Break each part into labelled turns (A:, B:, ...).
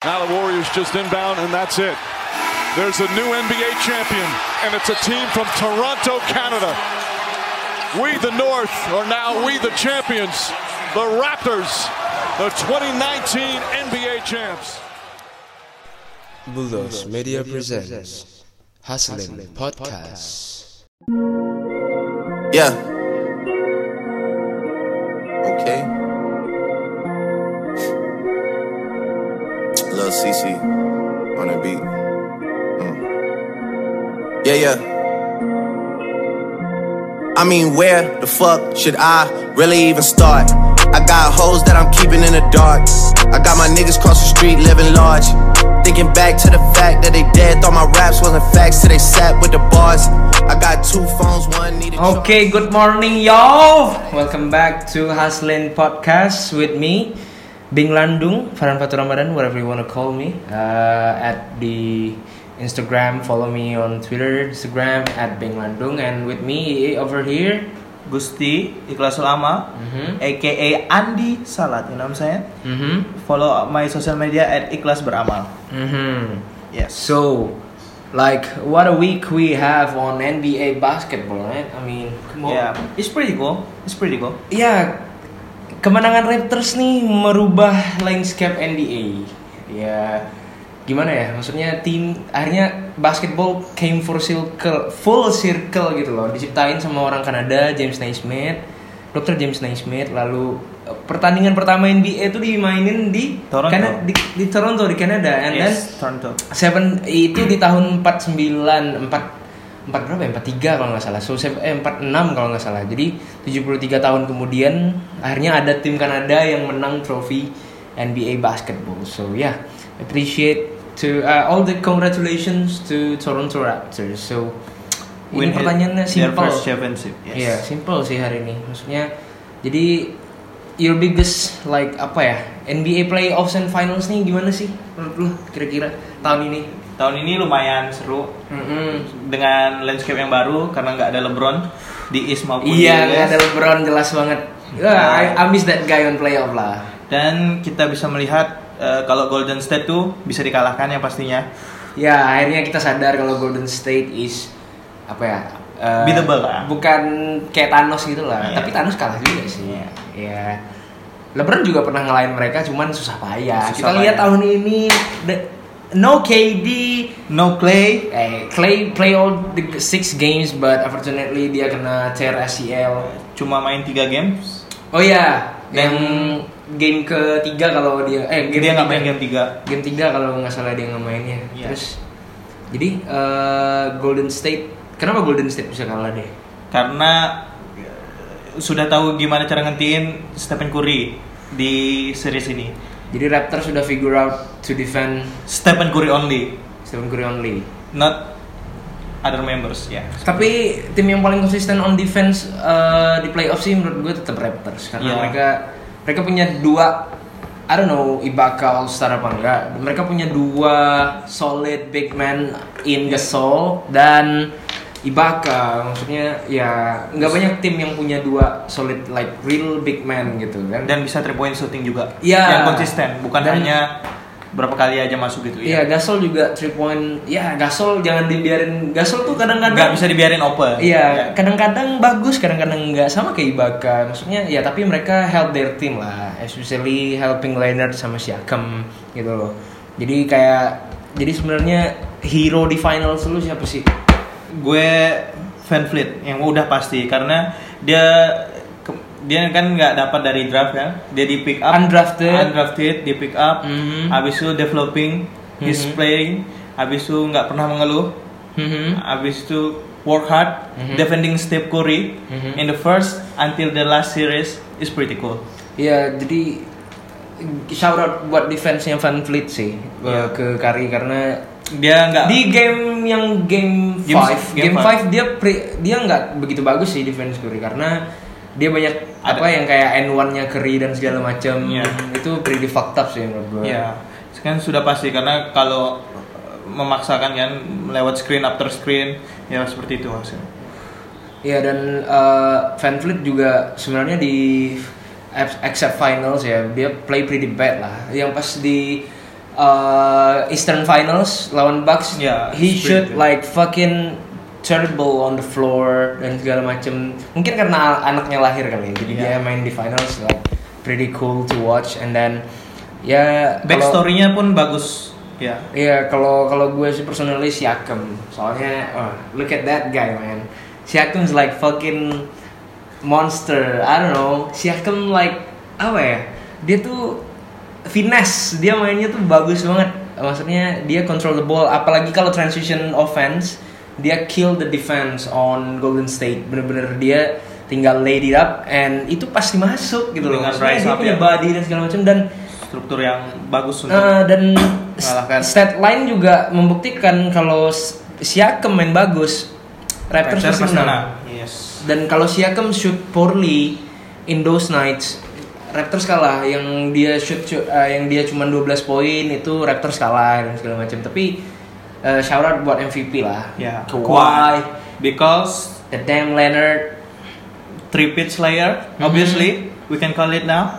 A: Now the Warriors just inbound, and that's it. There's a new NBA champion, and it's a team from Toronto, Canada. We, the North, are now we, the champions, the Raptors, the 2019 NBA champs.
B: Bulos Media presents Hustling Podcast.
C: Yeah. Okay. Lil CC on the beat. Mm. Yeah, yeah. I mean, where the fuck should I really even start? I got hoes that I'm keeping in the dark. I got my niggas cross the street living large. Thinking back to the fact that they dead, thought my raps wasn't facts till they sat with the bars. I got two phones, one needed.
D: Okay, good morning, y'all. Welcome back to Haslin Podcast with me, Bing Landung, Farhan Fatur Ramadan, whatever you want to call me. Uh, at the Instagram, follow me on Twitter, Instagram at Bing Landung, and with me over here.
E: Gusti Ikhlas Ulama,
D: Mhm.
E: aka Andi Salat, you know what I'm saying?
D: Mm-hmm.
E: Follow my social media at Ikhlas Beramal.
D: Mm-hmm.
E: Yes.
D: So, like, what a week we have on NBA basketball, right? I mean, come on.
E: Yeah, it's pretty cool. It's pretty cool.
D: Ya, kemenangan Raptors nih merubah landscape NBA. Ya, gimana ya? Maksudnya tim akhirnya basketball came full circle, full circle gitu loh. Diciptain sama orang Kanada, James Naismith, Dr. James Naismith. Lalu eh, pertandingan pertama NBA itu dimainin di
E: Toronto.
D: Kana- di, di Toronto di Kanada. And then
E: yes, Toronto.
D: Seven itu di tahun 49 4 4 berapa ya? 43 kalau nggak salah. So sev- eh, 46 kalau nggak salah. Jadi 73 tahun kemudian akhirnya ada tim Kanada yang menang trofi NBA basketball. So yeah, appreciate to uh, all the congratulations to Toronto Raptors. So ini
E: Win it,
D: pertanyaannya
E: Their
D: simple.
E: first championship. Yes.
D: Iya, simple sih hari ini. Maksudnya, jadi your biggest like apa ya NBA playoffs and finals nih gimana sih menurut lu kira-kira tahun ini?
E: Tahun ini lumayan seru
D: Mm-mm.
E: dengan landscape yang baru karena nggak ada LeBron di East maupun
D: Iya,
E: di
D: nggak
E: West.
D: ada LeBron jelas banget.
E: Nah.
D: Yeah, I, I miss that guy on playoff lah.
E: Dan kita bisa melihat eh, kalau Golden State tuh bisa dikalahkan yang pastinya.
D: Ya, akhirnya kita sadar kalau Golden State is apa ya? eh,
E: Beatable lah.
D: Bukan kayak Thanos gitu lah.
E: Iya.
D: Tapi Thanos kalah juga sih. Ya. LeBron juga pernah ngalahin mereka, cuman susah payah. Ya,
E: Susah
D: kita lihat
E: payah.
D: tahun ini the- no KD.
E: No Clay,
D: Eh, Clay play all the six games, but unfortunately dia kena tear ACL.
E: cuma main 3 games.
D: Oh ya, yang
E: Dan-
D: game ketiga kalau dia eh game
E: Dia nggak
D: ketiga.
E: main game 3.
D: game tiga kalau nggak salah dia nggak mainnya
E: Iya.
D: terus jadi eh, Golden State kenapa Golden State bisa kalah deh
E: karena eh, sudah tahu gimana cara ngentiin Stephen Curry di series ini.
D: jadi Raptors sudah figure out to defend
E: Stephen Curry only,
D: Stephen Curry only
E: not other members ya.
D: tapi tim yang paling konsisten on defense eh, di playoff sih menurut gue tetap Raptors karena
E: Iya.
D: mereka mereka punya dua I don't know Ibaka All Star apa enggak mereka punya dua solid big man
E: Iya.
D: in Gasol dan Ibaka maksudnya ya nggak banyak tim yang punya dua solid like real big man gitu kan
E: Dan bisa three point shooting juga.
D: Iya.
E: Yang konsisten, bukan
D: Dan-
E: hanya berapa kali aja masuk gitu
D: Iya,
E: ya.
D: Gasol juga three point. Ya, Gasol jangan dibiarin. Gasol tuh kadang-kadang
E: Nggak bisa dibiarin open. Ya.
D: Iya, kadang-kadang bagus, kadang-kadang enggak sama kayak Ibaka. Maksudnya ya tapi mereka help their team lah, especially helping Leonard sama Siakam gitu loh. Jadi kayak jadi sebenarnya hero di finals lu siapa sih?
E: gue fan Fleet yang udah pasti karena dia ke- dia kan nggak dapat dari draft kan dia di pick up
D: Undrafted.
E: undrafted di pick up
D: Mhm.
E: habis itu developing his
D: Mhm.
E: playing habis itu nggak pernah mengeluh Mm-hmm.
D: Mhm.
E: habis itu work hard
D: Mhm.
E: defending Steph Curry
D: Mhm.
E: in the first until the last series is pretty cool
D: Iya, jadi shout out buat defense-nya Van Vliet sih eh,
E: Iya.
D: ke Kari karena
E: dia nggak
D: di game yang game
E: Game-
D: 5 game
E: game
D: 5 dia pre- dia nggak begitu bagus sih defense Curry karena dia banyak
E: Ada-
D: apa yang kayak N1 nya Curry dan segala macam
E: Iya.
D: itu pretty fucked up sih menurut gue
E: ya kan sudah pasti karena kalau memaksakan kan lewat screen after screen ya seperti itu hasilnya
D: Iya, dan eh, Van Vliet juga sebenarnya di ex- except finals ya dia play pretty bad lah yang pas di eh, uh, Eastern Finals lawan Bucks,
E: Yeah,
D: he
E: Ya, it's
D: should
E: pretty good.
D: like fucking terrible on the floor dan segala macem. Mungkin karena anaknya lahir kali, ya, jadi dia
E: Yeah.
D: main di finals like pretty cool to watch. And then ya kalau-
E: Backstory-nya pun bagus. Ya.
D: Iya, kalau kalau gue sih personally Siakam. Soalnya oh, look at that guy, man. Siakam's like fucking monster. I don't know. Siakam like apa ya? Dia tuh finesse. Dia mainnya tuh bagus banget. Maksudnya dia control the ball apalagi kalau transition offense, dia kill the defense on Golden State. Bener-bener dia tinggal laid it up and itu pasti masuk gitu loh.
E: Dengan
D: Maksudnya
E: rise
D: dia
E: up
D: punya
E: ya.
D: body dan segala macam dan
E: Struktur yang bagus untuk
D: Nah, dan
E: Mengalahkan.
D: stat line juga membuktikan kalau S- Siakam main bagus, Raptors
E: Raptors
D: pasti
E: pasti menang.
D: menang.
E: Yes.
D: Dan kalau Siakam shoot poorly in those nights, Raptors kalah. Yang dia shoot cu- eh, yang dia cuma 12 poin itu Raptors kalah dan segala macam. Tapi eh, shout out buat MVP lah.
E: Ya.
D: Kawhi,
E: Because
D: the damn Leonard,
E: three pitch layer,
D: Hmm.
E: obviously we can call it now.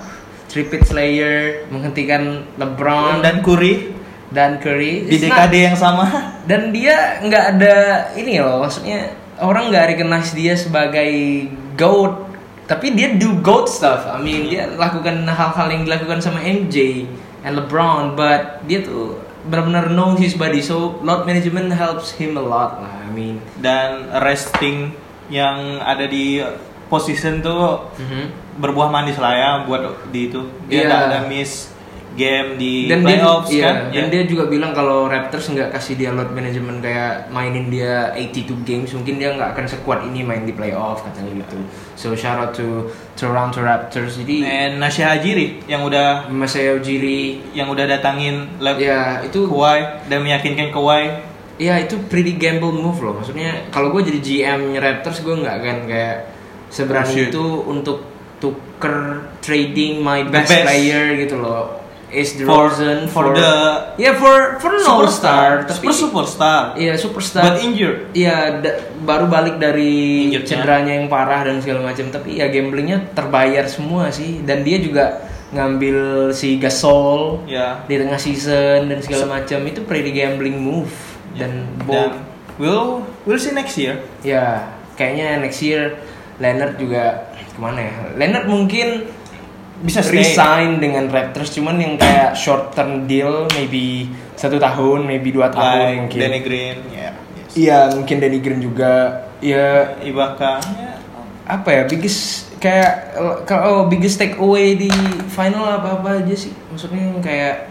D: Tripit Slayer menghentikan LeBron dan
E: Dan Curry
D: dan Curry. Hmm. It's
E: di
D: not-
E: dekade yang sama.
D: dan dia nggak ada ini loh maksudnya orang nggak recognize dia sebagai goat tapi dia do goat stuff I mean dia lakukan hal-hal yang dilakukan sama MJ and LeBron but dia tuh benar-benar know his body so load management helps him a lot lah I mean
E: Dan resting yang ada di position tuh berbuah manis lah ya buat di itu. Dia
D: Mm-hmm. Iya.
E: nggak ada miss game di
D: dan dia
E: playoffs
D: iya,
E: kan.
D: dan
E: Ya.
D: dia juga bilang kalau Raptors nggak kasih dia load management kayak mainin dia 82 games mungkin dia nggak akan sekuat ini main di playoff katanya gitu so shout out to Toronto Raptors jadi
E: And Nasih Hajiri yang udah
D: Masaya Ujiri
E: yang udah datangin lab
D: ya itu
E: Kawhi dan meyakinkan Kawhi
D: ya itu pretty gamble move loh maksudnya kalau gue jadi GM Raptors gue nggak akan kayak seberani
E: Oh, shit.
D: itu untuk tuker trading my
E: The
D: best,
E: best.
D: player gitu loh is the
E: For-
D: reason
E: for the-
D: ya for for an all star tapi
E: super superstar,
D: ya superstar
E: but injured.
D: Iya, da- baru balik dari
E: Injurednya.
D: cederanya yang parah dan segala macam. Tapi ya gamblingnya terbayar semua sih. Dan dia juga ngambil si Gasol
E: Ya.
D: di tengah season dan segala macam. Itu pretty gambling move dan bold.
E: Ya. Dan we'll we'll see next year.
D: Ya, kayaknya next year Leonard juga kemana ya? Leonard mungkin
E: Bisa stay.
D: resign dengan Raptors, cuman yang kayak short term deal, maybe satu tahun, maybe dua tahun
E: Like
D: mungkin.
E: Danny Green, ya. Yes.
D: Iya, mungkin Danny Green juga. Ya,
E: Ibaka. ya.
D: apa ya biggest kayak kalau biggest takeaway di final apa apa aja sih maksudnya yang kayak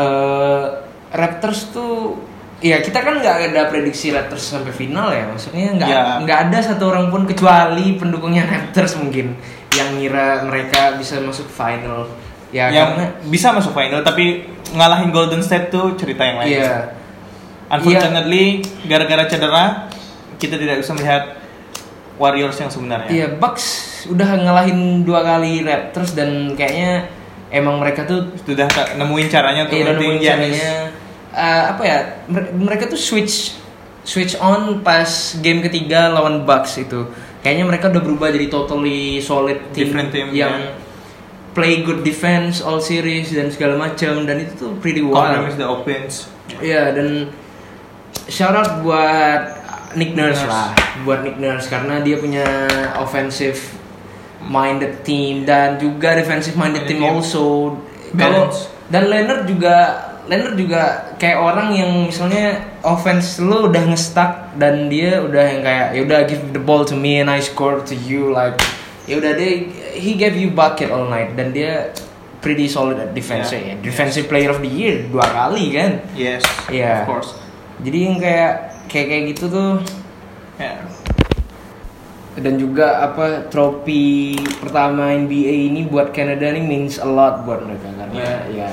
D: eh Raptors tuh ya kita kan nggak ada prediksi Raptors sampai final ya maksudnya nggak
E: Ya.
D: nggak ada satu orang pun kecuali pendukungnya Raptors mungkin yang ngira mereka bisa masuk final ya
E: yang
D: karena
E: bisa masuk final tapi ngalahin Golden State tuh cerita yang lain.
D: iya
E: Unfortunately, gara-gara cedera kita tidak bisa melihat Warriors yang sebenarnya.
D: Iya, Bucks udah ngalahin dua kali Raptors dan kayaknya emang mereka tuh
E: Sudah tak- nemuin caranya untuk
D: Iya, dan
E: ngertiin
D: nemuin
E: Giannis.
D: caranya. Eh, apa ya? mer- Mereka tuh switch switch on pas game ketiga lawan Bucks itu. Kayaknya mereka udah berubah jadi totally solid team,
E: Different team, ya.
D: yang play good defense all series dan segala macam dan itu tuh pretty
E: Problem
D: wild.
E: is the offense.
D: Iya dan shout out buat Nick Nurse,
E: Nurse.
D: lah, buat Nick Nurse karena dia punya offensive minded team dan juga defensive minded team
E: Minded team.
D: also. Kalau
E: Balance.
D: dan Leonard juga Leonard juga kayak orang yang misalnya offense lu udah ngestak dan dia udah yang kayak ya udah give the ball to me and I score to you like ya udah dia he gave you bucket all night dan dia pretty solid at defense
E: Yeah.
D: ya defensive player of the year dua kali kan
E: Yes,
D: Iya.
E: of course.
D: jadi yang kayak kayak kayak gitu tuh
E: Ya.
D: dan juga apa trofi pertama NBA ini buat Kanada ini means a lot buat mereka karena ya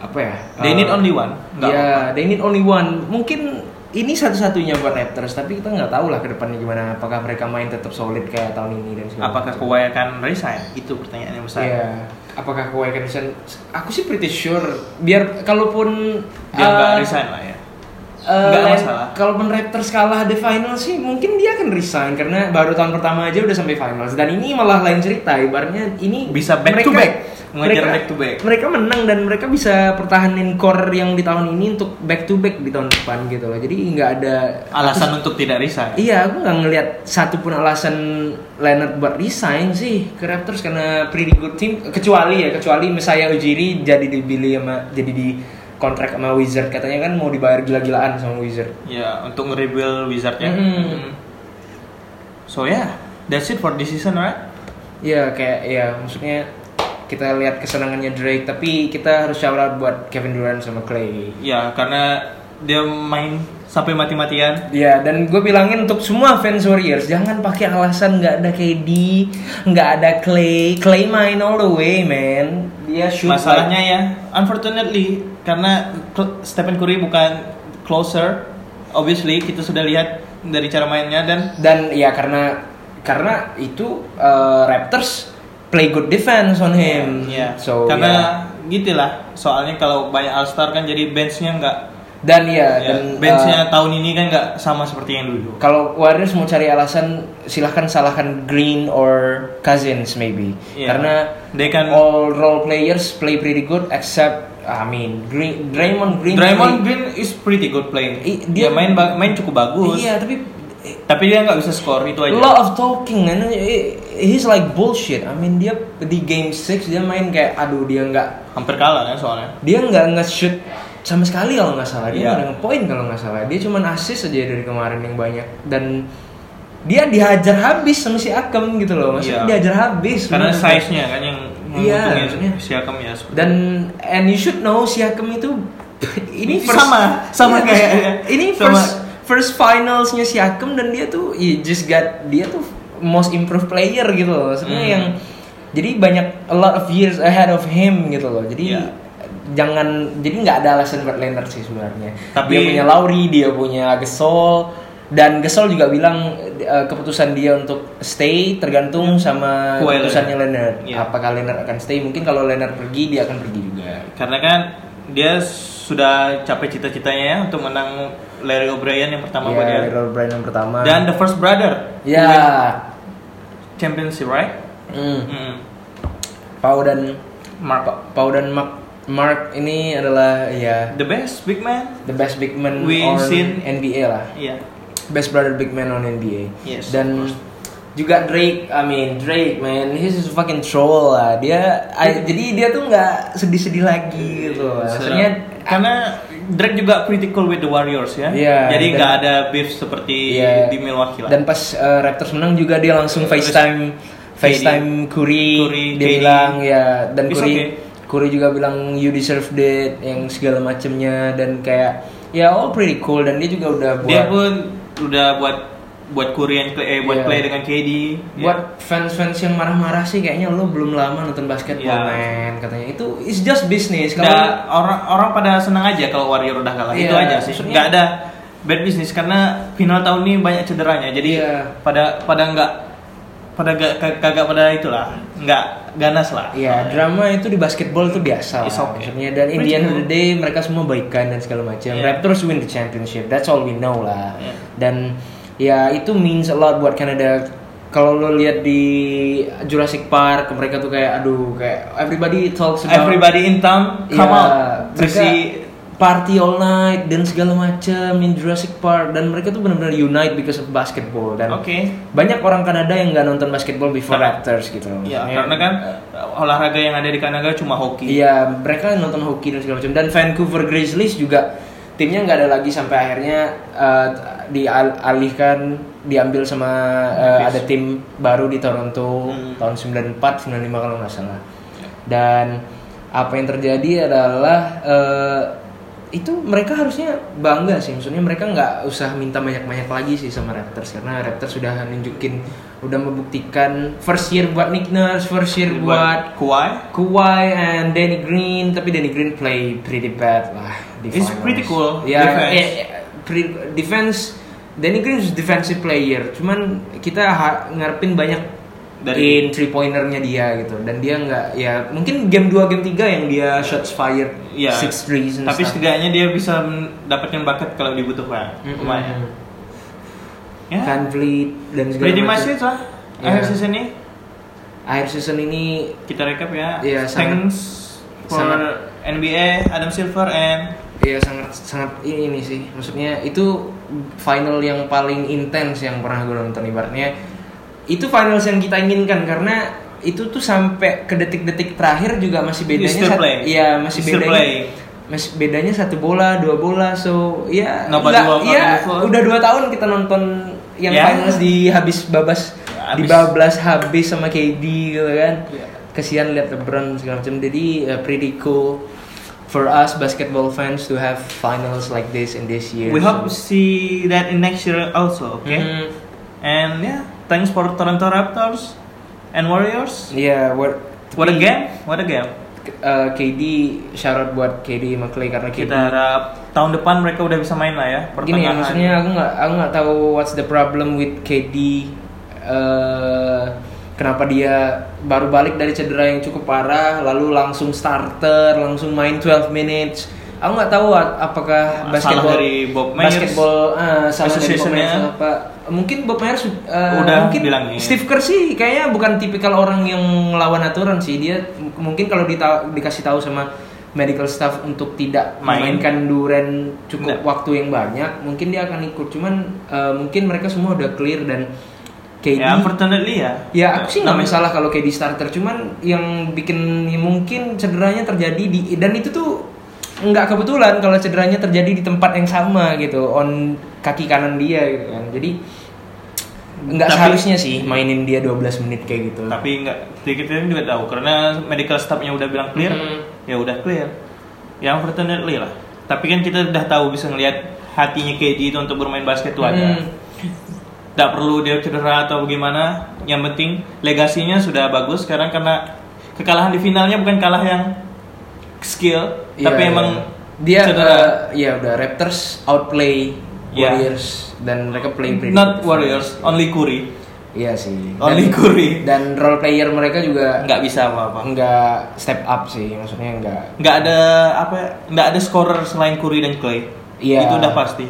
D: apa ya?
E: Iya. They
D: eh,
E: need only one.
D: Ya,
E: Nggak
D: they need only one. Mungkin ini satu-satunya buat Raptors, tapi kita nggak tahu lah ke depannya gimana. Apakah mereka main tetap solid kayak tahun ini dan segala
E: Apakah
D: macam.
E: Kawhi akan resign? Itu pertanyaan yang besar.
D: Iya. Apakah Kawhi akan resign? Aku sih pretty sure. Biar kalaupun
E: Biar nggak
D: eh,
E: resign lah ya.
D: Eh,
E: Nggak
D: Len-
E: masalah.
D: Kalaupun Raptors kalah di final sih mungkin dia akan resign karena baru tahun pertama aja udah sampai finals dan ini malah lain cerita ibaratnya ini
E: Bisa back
D: mereka,
E: to back. Ngejar back to back.
D: mereka menang dan mereka bisa pertahanin core yang di tahun ini untuk back to back di tahun depan gitu loh. Jadi nggak ada
E: Alasan untuk tidak resign.
D: Iya, aku nggak ngelihat satupun alasan Leonard buat resign sih ke Raptors karena pretty good team kecuali ya kecuali misalnya Ujiri jadi dibeli sama jadi di kontrak sama Wizard katanya kan mau dibayar gila-gilaan sama Wizard.
E: Ya, untuk nge-rebuild Wizardnya.
D: Mm.
E: So yeah, that's it for this season, right?
D: Iya kayak ya maksudnya kita lihat kesenangannya Drake tapi kita harus shout out buat Kevin Durant sama Clay.
E: Ya, karena dia main sampai mati-matian.
D: Ya, dan gue bilangin untuk semua fans Warriors, jangan pakai alasan nggak ada KD, nggak ada Clay. Clay main all the way, man. Dia shoot
E: Masalahnya ya, unfortunately karena Cl- Stephen Curry bukan closer, obviously kita sudah lihat dari cara mainnya
D: like-
E: dan
D: dan ya karena karena itu eh, Raptors play good defense on him.
E: ya
D: So ya.
E: karena gitulah soalnya kalau banyak all star kan jadi benchnya nggak
D: dan ya,
E: ya,
D: dan eh,
E: benchnya tahun ini kan nggak sama seperti yang dulu.
D: kalau Warriors mau cari alasan, silahkan salahkan Green or Cousins maybe.
E: Ya.
D: Karena
E: they can
D: all role players play pretty good except I mean Green, Draymond Green.
E: Draymond Green is pretty good playing.
D: I- dia-
E: dia, main ba- main cukup bagus. Iya.
D: Iya, tapi eh,
E: Tapi dia nggak bisa skor itu aja.
D: lot of talking and eh, he's like bullshit. I mean dia di game 6 dia main kayak aduh dia nggak
E: Hampir kalah kan soalnya.
D: dia nggak nge-shoot sama sekali kalau nggak salah.
E: Iya.
D: Dia nggak ada nge-point kalau nggak salah. Dia cuman assist aja dari kemarin yang banyak dan dia dihajar habis sama si Akem gitu loh. Maksudnya
E: Iya.
D: dihajar habis.
E: Karena
D: bener.
E: size-nya kan yang
D: Iya,
E: menguntungkan
D: maksudnya.
E: Siakam ya. seperti
D: dan and you should know si Hakem itu ini first,
E: Sama, sama
D: Iya,
E: kayak- iya.
D: ini
E: Sama.
D: first first finalsnya si Hakem dan dia tuh he just got dia tuh most improved player gitu loh sebenarnya
E: Hmm.
D: yang jadi banyak a lot of years ahead of him gitu loh jadi
E: Iya.
D: jangan jadi nggak ada alasan buat Leonard sih sebenarnya
E: Tapi-
D: dia punya Lauri dia punya Gasol dan Gasol juga bilang eh, keputusan dia untuk stay
E: Hmm.
D: tergantung sama
E: Kawhi Leonard.
D: keputusannya Leonard
E: Iya.
D: apakah Leonard akan stay mungkin kalau Leonard pergi dia akan pergi juga
E: karena kan dia sudah capek cita-citanya ya untuk menang Larry O'Brien yang pertama buat dia.
D: ya Leroy Brand yang pertama
E: Dan the first brother
D: ya
E: championship right?
D: hmm.
E: Mm.
D: Pau dan
E: Mark
D: Pau dan Mark, Mark ini adalah ya
E: the best big man.
D: the best big man
E: We
D: on
E: seen-
D: NBA lah
E: Iya.
D: best brother big man on NBA
E: Yes,
D: dan
E: of course.
D: juga Drake I mean Drake man he's just fucking troll lah dia I- jadi dia tuh nggak sedih-sedih lagi gitu loh. maksudnya
E: karena Drake juga critical with the Warriors ya.
D: Iya,
E: Jadi
D: dan-
E: nggak ada beef seperti
D: Iya.
E: di Milwaukee lah.
D: Dan pas eh, Raptors menang juga dia langsung FaceTime FaceTime Curry,
E: Curry,
D: dia
E: KD.
D: bilang ya dan
E: It's
D: Curry
E: okay.
D: Curry juga bilang you deserve that yang segala macemnya dan kayak ya all pretty cool dan dia juga udah buat
E: dia pun udah buat buat Korean play eh, buat
D: Iya.
E: play dengan Iya. KD.
D: buat fans-fans yang marah-marah sih kayaknya lo belum lama nonton basketball
E: Iya.
D: man katanya itu it's just business
E: Iya. Udah-
D: kalau
E: orang orang pada senang aja kalau Warrior udah kalah.
D: Iya,
E: Itu aja sih.
D: maksudnya-
E: Nggak ada bad business karena final tahun ini banyak cederanya. Jadi
D: Iya.
E: pada pada nggak pada ga- ka- kagak pada itulah nggak ganas lah.
D: ya drama itu di basketball itu biasa lah,
E: It's Iya. okay.
D: maksudnya dan in the end of the day mereka semua baikan dan segala macam
E: Yeah.
D: Raptors win the championship that's all we know lah
E: Yeah.
D: dan ya itu means a lot buat Kanada kalau lo lihat di Jurassic Park mereka tuh kayak aduh kayak everybody talks about
E: Everybody in town
D: ya,
E: come out to
D: mereka
E: see
D: party all night dan segala macam in Jurassic Park dan mereka tuh benar-benar unite because of basketball dan
E: Oke.
D: banyak orang Kanada yang nggak nonton basketball before Raptors gitu loh.
E: Ya,
D: Maksudnya,
E: karena kan olahraga yang ada di Kanada cuma hoki.
D: Iya, mereka nonton hoki dan segala macam. Dan Vancouver Grizzlies juga timnya nggak ada lagi sampai akhirnya eh, dialihkan, diambil sama eh, ada tim baru di Toronto
E: Hmm.
D: tahun 94, 95 kalau nggak salah. Dan apa yang terjadi adalah eh, itu mereka harusnya bangga sih, maksudnya mereka nggak usah minta banyak-banyak lagi sih sama Raptors karena Raptors sudah nunjukin, udah membuktikan first year buat Nick Nurse, first year buat
E: Kawhi
D: Kawhi and Danny Green, tapi Danny Green play pretty bad lah di
E: It's
D: finals.
E: pretty cool,
D: Ya,
E: defense.
D: eh, eh, pre- defense. Danny Green is defensive player, cuman kita ha- ngarepin banyak
E: Dari-
D: dari in three pointernya dia gitu dan dia nggak ya mungkin game 2 game 3 yang dia shots fired
E: Iya.
D: six threes and
E: Tapi
D: stuff.
E: setidaknya dia bisa mendapatkan bucket kalau dibutuhkan.
D: Mm-mm.
E: Lumayan. Ya.
D: Van Vliet dan segala
E: Pretty much
D: macam.
E: itu lah.
D: Iya.
E: Akhir season ini
D: akhir season ini
E: Kita recap ya.
D: Iya, sangat-
E: Thanks for
D: sangat-
E: NBA Adam Silver and
D: ya sangat sangat ini ini sih maksudnya itu final yang paling intens yang pernah gue nonton ibaratnya itu finals yang kita inginkan karena itu tuh sampai ke detik-detik terakhir juga masih
E: You
D: bedanya
E: still
D: sat-
E: play.
D: iya masih
E: You still
D: bedanya
E: play.
D: masih bedanya satu bola dua bola so ya
E: Nggak
D: nggak-
E: dua, nggak
D: iya,
E: dua.
D: udah dua tahun kita nonton yang
E: Ya.
D: finals di habis babas
E: Ya,
D: di
E: habis.
D: bablas habis sama KD gitu kan
E: Iya.
D: kesian lihat LeBron segala macam jadi uh, pretty cool for us basketball fans to have finals like this in this year
E: we hope
D: So,
E: see that in next year also, okay?
D: mhm.
E: And yeah, thanks for Toronto Raptors and Warriors.
D: yeah what
E: What a game, what a game.
D: uh, KD shout out buat KD sama Clay karena KD
E: Kita harap tahun depan mereka udah bisa main lah ya.
D: gini ya
E: Pertengahan.
D: maksudnya aku nggak aku nggak tahu what's the problem with KD eh kenapa dia baru balik dari cedera yang cukup parah lalu langsung starter langsung main 12 minutes aku nggak tahu a- apakah
E: Salah
D: basketball
E: dari Bob Myers.
D: basketball eh, salah dari Bob
E: Association-nya.
D: Myers atau apa mungkin Bob Myers eh,
E: Udah
D: mungkin
E: bilangin.
D: Steve Kerr sih kayaknya bukan tipikal orang yang melawan aturan sih dia m- mungkin kalau dita- dikasih tahu sama medical staff untuk tidak
E: Main.
D: memainkan Duren cukup
E: Nggak.
D: waktu yang banyak mungkin dia akan ikut cuman eh, mungkin mereka semua udah clear dan KD ya,
E: Ya, unfortunately ya.
D: aku sih nggak masalah kalau KD starter cuman yang bikin ya mungkin cederanya terjadi di dan itu tuh nggak kebetulan kalau cederanya terjadi di tempat yang sama gitu on kaki kanan dia gitu kan jadi nggak
E: Tapi-
D: seharusnya sih mainin dia 12 menit kayak gitu
E: Tapi nggak kita juga tahu karena medical staffnya udah bilang clear,
D: Mhm.
E: ya udah clear. Ya unfortunately lah. Tapi kan kita udah tahu bisa ngelihat hatinya KD itu untuk bermain basket itu ada.
D: Hmm.
E: Nggak perlu dia cedera atau bagaimana. Yang penting legasinya sudah bagus sekarang karena kekalahan di finalnya bukan kalah yang skill,
D: Iya,
E: tapi
D: iya.
E: emang
D: dia
E: cedera.
D: eh, ya udah Raptors outplay
E: Iya.
D: Warriors dan mereka play pretty
E: Not
D: good.
E: Warriors, only Curry.
D: Iya sih.
E: Only
D: Dan-
E: Curry.
D: Dan role player mereka juga
E: Nggak bisa apa-apa.
D: nggak step up sih, maksudnya nggak.
E: nggak ada apa ya, nggak ada scorer selain Curry dan Clay
D: Iya.
E: itu udah pasti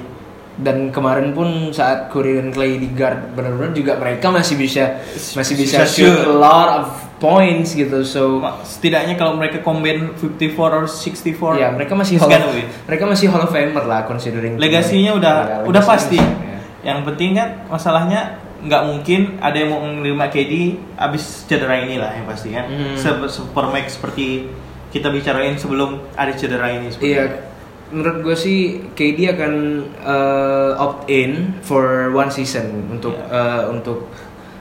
D: Dan kemarin pun saat Curry dan Clay di guard benar-benar juga mereka masih bisa masih bisa
E: Bisa
D: shoot a
E: shoot.
D: lot of points gitu. So
E: setidaknya kalau mereka combine 54 or 64
D: ya mereka masih
E: it's
D: hall
E: gonna
D: of,
E: win.
D: mereka masih hall of famer lah considering
E: legasinya udah
D: Ya,
E: udah
D: legasinya
E: pasti
D: masih- ya.
E: yang penting kan masalahnya nggak mungkin ada yang mau menerima KD abis cedera inilah yang pasti kan
D: Hmm.
E: Se- supermax seperti kita bicarain sebelum ada cedera ini seperti
D: Iya,
E: itu.
D: menurut gue sih KD akan eh, opt in for one season untuk
E: Iya.
D: eh, untuk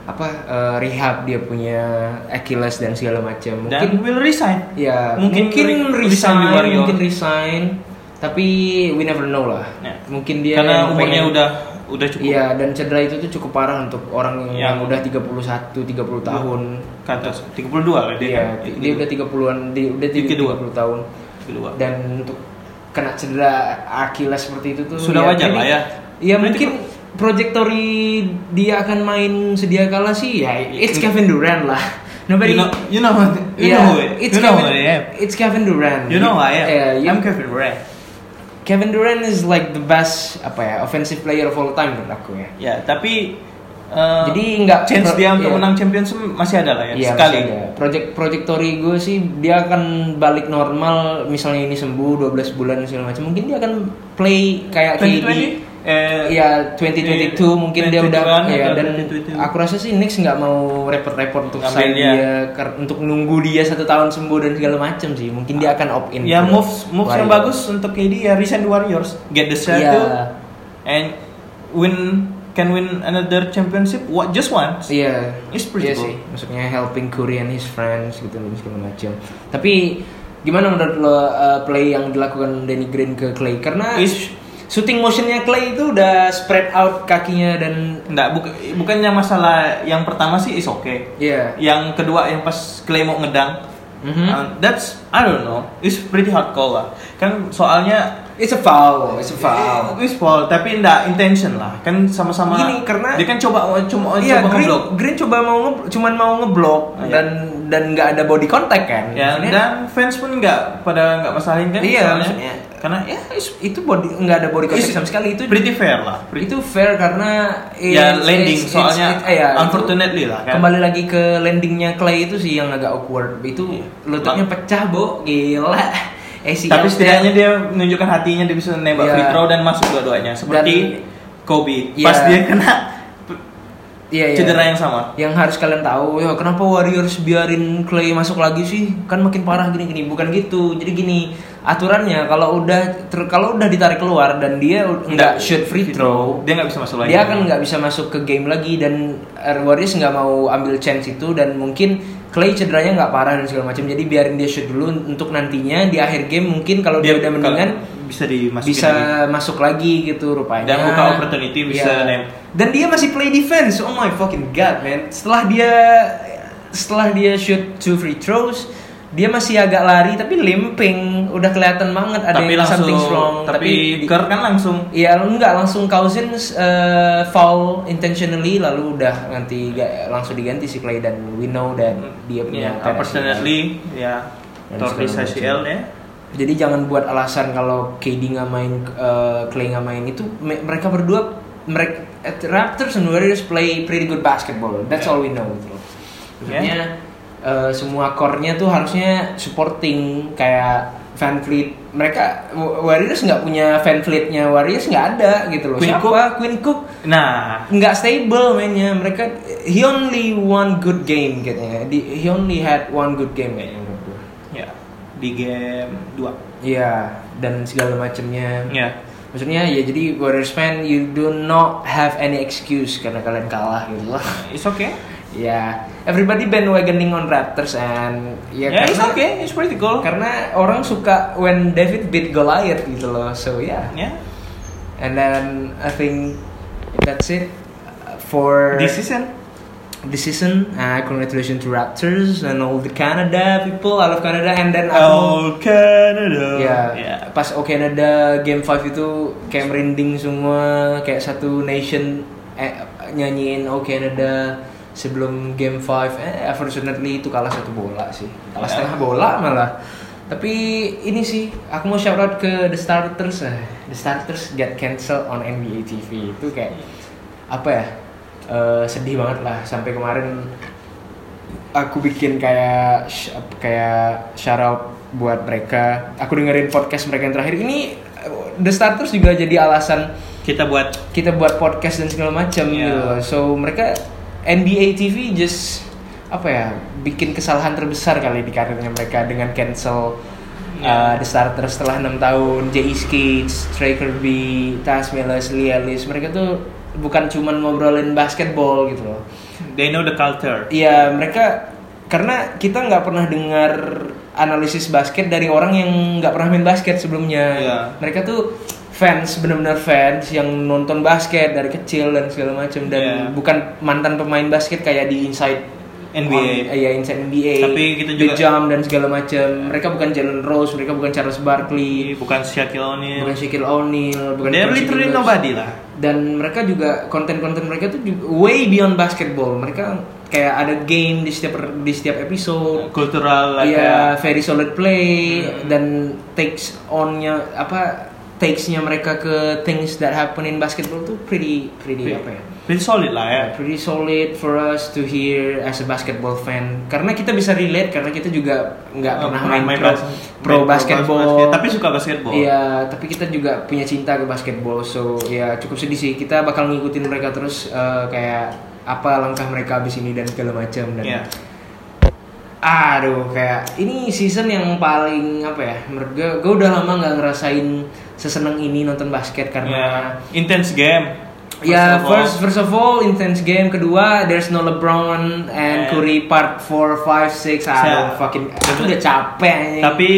D: apa eh, rehab dia punya Achilles dan segala macam.
E: dan
D: Mungkin
E: will resign
D: ya
E: mungkin
D: mungkin,
E: re- resign
D: resign,
E: di Warrior.
D: mungkin resign, tapi we never know lah.
E: Ya.
D: Mungkin dia
E: karena
D: yang
E: umurnya
D: pengen-
E: udah udah cukup Ya.
D: Iya, dan cedera itu tuh cukup parah untuk orang yang,
E: Yang-
D: udah 31, 30 tahun.
E: ke atas 32 lah Iya. dia
D: Iya,
E: kan?
D: dia udah 30-an, dia udah
E: Di kedua.
D: 30 tahun
E: 32.
D: dan untuk kena cedera Achilles seperti itu tuh
E: Sudah wajar lah ya.
D: ya
E: Berarti
D: mungkin trajectory dia akan main sedia kala sih ya it's Kevin Durant lah nobody
E: you know, you know, you
D: Yeah,
E: know it.
D: Iya. it's
E: you know
D: Kevin,
E: who I am.
D: it's Kevin Durant
E: You know who I am.
D: Yeah, you-
E: I'm Kevin Durant.
D: Kevin Durant is like the best apa ya offensive player of all time menurut aku ya
E: Ya, tapi uh,
D: Jadi nggak-
E: chance dia untuk
D: iya.
E: menang Champions masih ada lah ya,
D: Iya,
E: sekali.
D: masih ada. Project trajectory gue sih dia akan balik normal misalnya ini sembuh 12 bulan segala macam mungkin dia akan play kayak KD
E: 2020? Eh,
D: ya 2022
E: Iya,
D: mungkin dia
E: 2021
D: udah ya
E: atau
D: dan
E: 2022.
D: aku rasa sih Knicks nggak mau repot-repot untuk
E: Ngambil
D: sign
E: dia.
D: dia kar- untuk nunggu dia satu tahun sembuh dan segala macam sih mungkin dia akan opt in
E: Ya
D: ke
E: moves moves yang
D: Warriors.
E: bagus untuk KD ya resign di Warriors, get the shot
D: Iya.
E: and win can win another championship what just once.
D: iya
E: It's pretty
D: Iya sih
E: cool.
D: maksudnya helping Curry and his friends gitu dan segala macam tapi gimana menurut lo uh, play yang dilakukan Danny Green ke Clay karena
E: Is-
D: shooting motionnya Clay itu udah spread out kakinya dan
E: Nggak, buka- bukannya masalah yang pertama sih is okay.
D: ya
E: Yang kedua yang pas Clay mau ngedang,
D: Mhm.
E: uh, that's I don't know. It's pretty hardcore lah. Kan soalnya
D: It's a foul, it's a foul.
E: It's foul, Iya, tapi ndak intention lah. Kan sama-sama.
D: Gini, karena-
E: dia kan coba cuma
D: Iya,
E: coba
D: Green,
E: ngeblok.
D: Green coba mau nge- cuman mau ngeblok
E: Ah, iya.
D: dan dan nggak ada body contact kan.
E: Ya,
D: Maksudnya-
E: dan fans pun nggak pada nggak masalahin kan?
D: iya,
E: soalnya.
D: maksudnya
E: karena ya
D: ya is- itu body nggak ada body contact
E: Is-
D: sama sekali itu
E: pretty fair lah. Pretty-
D: itu fair karena
E: ya
D: it's-
E: landing
D: it's-
E: soalnya
D: it's- eh, ya, itu
E: unfortunately lah kan.
D: kembali lagi ke landingnya Clay itu sih yang agak awkward itu
E: Iya.
D: lututnya pecah bo gila Eh, ACL
E: Tapi setidaknya dia menunjukkan hatinya dia bisa nembak
D: Iya.
E: free throw dan masuk dua-duanya seperti Kobe.
D: Iya.
E: Pas dia kena
D: iya, iya.
E: cedera yang sama.
D: yang harus kalian tahu ya kenapa Warriors biarin Clay masuk lagi sih kan makin parah gini gini bukan gitu jadi gini aturannya kalau udah ter- kalau udah ditarik keluar dan dia u- nggak shoot free throw
E: Dia nggak bisa masuk lagi.
D: dia akan nggak bisa masuk ke game lagi dan eh, Warriors nggak mau ambil chance itu dan mungkin Clay cederanya nggak parah dan segala macam jadi biarin dia shoot dulu untuk nantinya di akhir game mungkin kalau dia, udah mendingan
E: bisa dimasukin
D: bisa
E: lagi.
D: masuk lagi gitu rupanya
E: Dan buka opportunity bisa
D: Iya.
E: name.
D: dan dia masih play defense oh my fucking god man setelah dia setelah dia shoot two free throws dia masih agak lari tapi limping udah kelihatan banget ada
E: tapi
D: yang
E: langsung
D: something's wrong
E: tapi,
D: di-
E: Kerr kan langsung
D: Iya, enggak langsung Cousins eh, foul intentionally lalu udah nanti ga- langsung diganti si Clay dan we know dan dia punya
E: ya,
D: tendensi.
E: unfortunately ya
D: Dan
E: tortis
D: segala
E: ACL
D: macam.
E: ya.
D: Jadi jangan buat alasan kalau KD nggak main, eh, Clay nggak main itu me- mereka berdua mereka at Raptors and Warriors play pretty good basketball. That's all we know. Bro. Maksudnya eh, semua core-nya tuh harusnya supporting kayak Van Fleet. Mereka Wa- Warriors nggak punya Van Fleet-nya Warriors nggak ada gitu loh.
E: Quinn
D: Siapa? Quinn Cook
E: Nah,
D: nggak stable mainnya mereka he only one good game kayaknya Di- he only had one good game kayaknya menurut gue.
E: ya di game 2.
D: Iya, dan segala macamnya.
E: Ya.
D: Maksudnya ya jadi Warriors fan you do not have any excuse karena kalian kalah gitu lah.
E: It's okay.
D: ya, everybody bandwagoning on Raptors and ya
E: Ya, it's
D: karena
E: okay. It's pretty cool.
D: karena orang suka when David beat Goliath gitu loh. So yeah.
E: Ya.
D: And then I think that's it for
E: This season
D: this season. Uh, congratulations to Raptors and all the Canada people. I love Canada and
E: Oh,
D: then I will-
E: All Canada.
D: Ya,
E: Ya.
D: pas Oke Canada game 5 itu kayak merinding semua, kayak satu nation eh, nyanyiin Oke Canada sebelum game 5. Eh, unfortunately itu kalah satu bola sih. Kalah
E: Ya.
D: setengah bola malah. Tapi ini sih, aku mau shout out ke The Starters. eh. The Starters get cancel on NBA TV. Itu kayak apa ya? eh, sedih banget lah sampai kemarin aku bikin kayak sh- kayak shout out buat mereka. Aku dengerin podcast mereka yang terakhir ini uh, The Starters juga jadi alasan
E: Kita buat
D: kita buat podcast dan segala macam
E: Iya.
D: gitu loh. So mereka NBA TV just apa ya bikin kesalahan terbesar kali di karirnya mereka dengan cancel uh,
E: Iya.
D: The Starters setelah enam tahun, J.E. Skates, Trey Kirby, Taz Melas, Lee Ellis, mereka tuh bukan cuman ngobrolin basketball gitu loh.
E: They know the culture.
D: Iya mereka karena kita nggak pernah dengar analisis basket dari orang yang nggak pernah main basket sebelumnya.
E: Iya.
D: Mereka tuh fans benar-benar fans yang nonton basket dari kecil dan segala macam dan
E: Iya.
D: bukan mantan pemain basket kayak di Inside
E: NBA.
D: on- iya Inside NBA.
E: Tapi kita
D: The
E: juga-
D: Jam dan segala macam. Mereka bukan Jalen Rose, mereka bukan Charles Barkley,
E: Bukan Shaquille O'Neal.
D: bukan Shaquille O'Neal, bukan
E: They're
D: Percy
E: Iya. literally
D: Gillis
E: nobody lah.
D: dan mereka juga konten-konten mereka tuh juga way beyond basketball mereka kayak ada game di setiap di setiap episode
E: Cultural uh, lah
D: Iya,
E: kayak Hmm.
D: very solid play dan takes onnya apa takesnya mereka ke things that happen in basketball tuh pretty pretty apa ya
E: Pretty solid lah ya.
D: pretty solid for us to hear as a basketball fan karena kita bisa relate karena kita juga nggak pernah main, pro,
E: Oh, bas-
D: pro
E: main
D: basketball
E: basket, tapi suka basketball.
D: Iya, tapi kita juga punya cinta ke basketball, so ya cukup sedih sih. Kita bakal ngikutin mereka terus eh, kayak apa langkah mereka abis ini dan segala macam dan.
E: Iya.
D: Aduh, kayak ini season yang paling apa ya? Menurut gue, gue udah lama nggak ngerasain seseneng ini nonton basket karena.
E: Iya. intense game.
D: Ya,
E: of all.
D: first first of all intense game. Kedua, there's no LeBron and
E: And-
D: Curry part 4, 5, 6.
E: Saya-
D: Aduh, fucking aku udah capek. anjing.
E: Tapi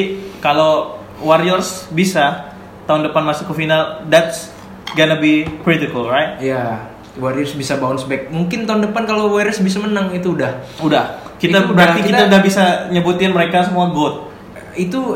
E: kalau Warriors bisa tahun depan masuk ke final, that's gonna be critical, right?
D: Ya, Warriors bisa bounce back. Mungkin tahun depan kalau Warriors bisa menang itu udah.
E: Udah. Kita
D: Itu udah,
E: berarti kita,
D: kita-
E: udah bisa nyebutin mereka semua god.
D: itu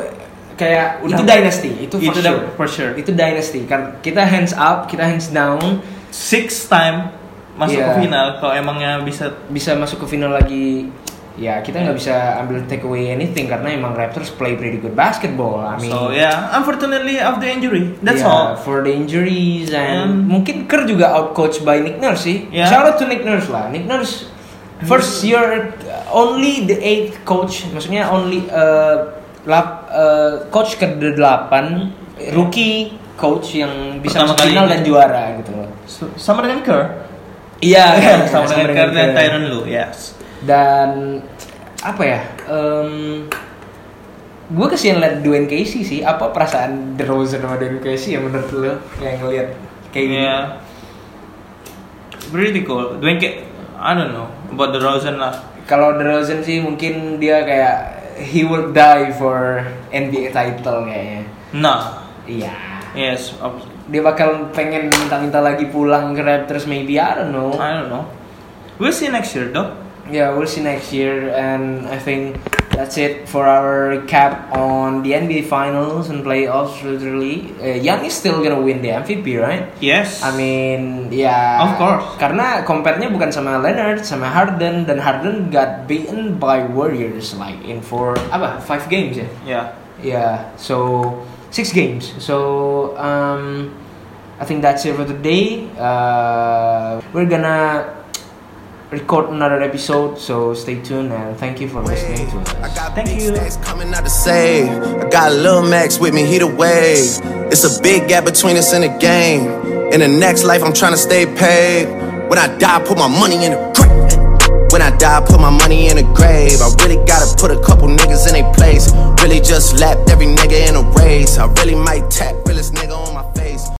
D: kayak
E: Udah-
D: itu dynasty itu for
E: Itu
D: sure.
E: dah- for sure.
D: itu dynasty kan kita hands up kita hands down
E: six time masuk
D: Iya.
E: ke final kalau emangnya bisa
D: bisa masuk ke final lagi ya kita nggak bisa ambil take away anything karena emang Raptors play pretty good basketball I mean
E: so ya, yeah unfortunately of the injury that's
D: yeah,
E: all
D: for the injuries and
E: Hmm.
D: mungkin Kerr juga outcoached by Nick Nurse sih
E: Yeah.
D: shout out to Nick Nurse lah Nick Nurse first year uh, only the eighth coach maksudnya only uh, lap, uh, coach ke delapan rookie coach yang bisa
E: Pertama
D: masuk
E: kali
D: final
E: ini.
D: dan juara gitu loh
E: So- sama dengan Kerr
D: iya
E: Iya,
D: kan,
E: sama dengan Kerr dan
D: Kerr.
E: Tyronn Lue yes
D: dan apa ya gue kesian liat Dwayne Casey sih apa perasaan DeRozan sama Dwayne Casey yang menurut lo yang ngeliat kayak
E: Iya,
D: gini
E: yeah pretty cool Dwayne Ca- I don't know about the Rosen lah
D: kalau DeRozan sih mungkin dia kayak he will die for NBA title kayaknya
E: nah
D: iya
E: yes of-
D: dia bakal pengen minta-minta lagi pulang ke Raptors maybe I don't know
E: I don't know we'll see next year though
D: Yeah, we'll see next year, and I think that's it for our recap on the NBA Finals and playoffs. Literally, uh, Young is still gonna win the MVP, right?
E: yes
D: I mean, yeah.
E: Of course.
D: Karena compare-nya bukan sama Leonard, sama Harden, dan Harden got beaten by Warriors like in four apa five games ya?
E: yeah
D: Yeah, so six games. So um, I think that's it for today. Uh, we're gonna record another episode, so stay tuned and thank you for listening to us.
C: I got
E: Thank
C: big
E: you.
C: stacks coming out to save. I got Lil Max with me, he the wave. It's a big gap between us and the game. In the next life, I'm trying to stay paid. When I die, I put my money in the grave. When I die, I put my money in the grave. I really gotta put a couple niggas in a place. Really just lapped every nigga in a race. I really might tap realest nigga on my.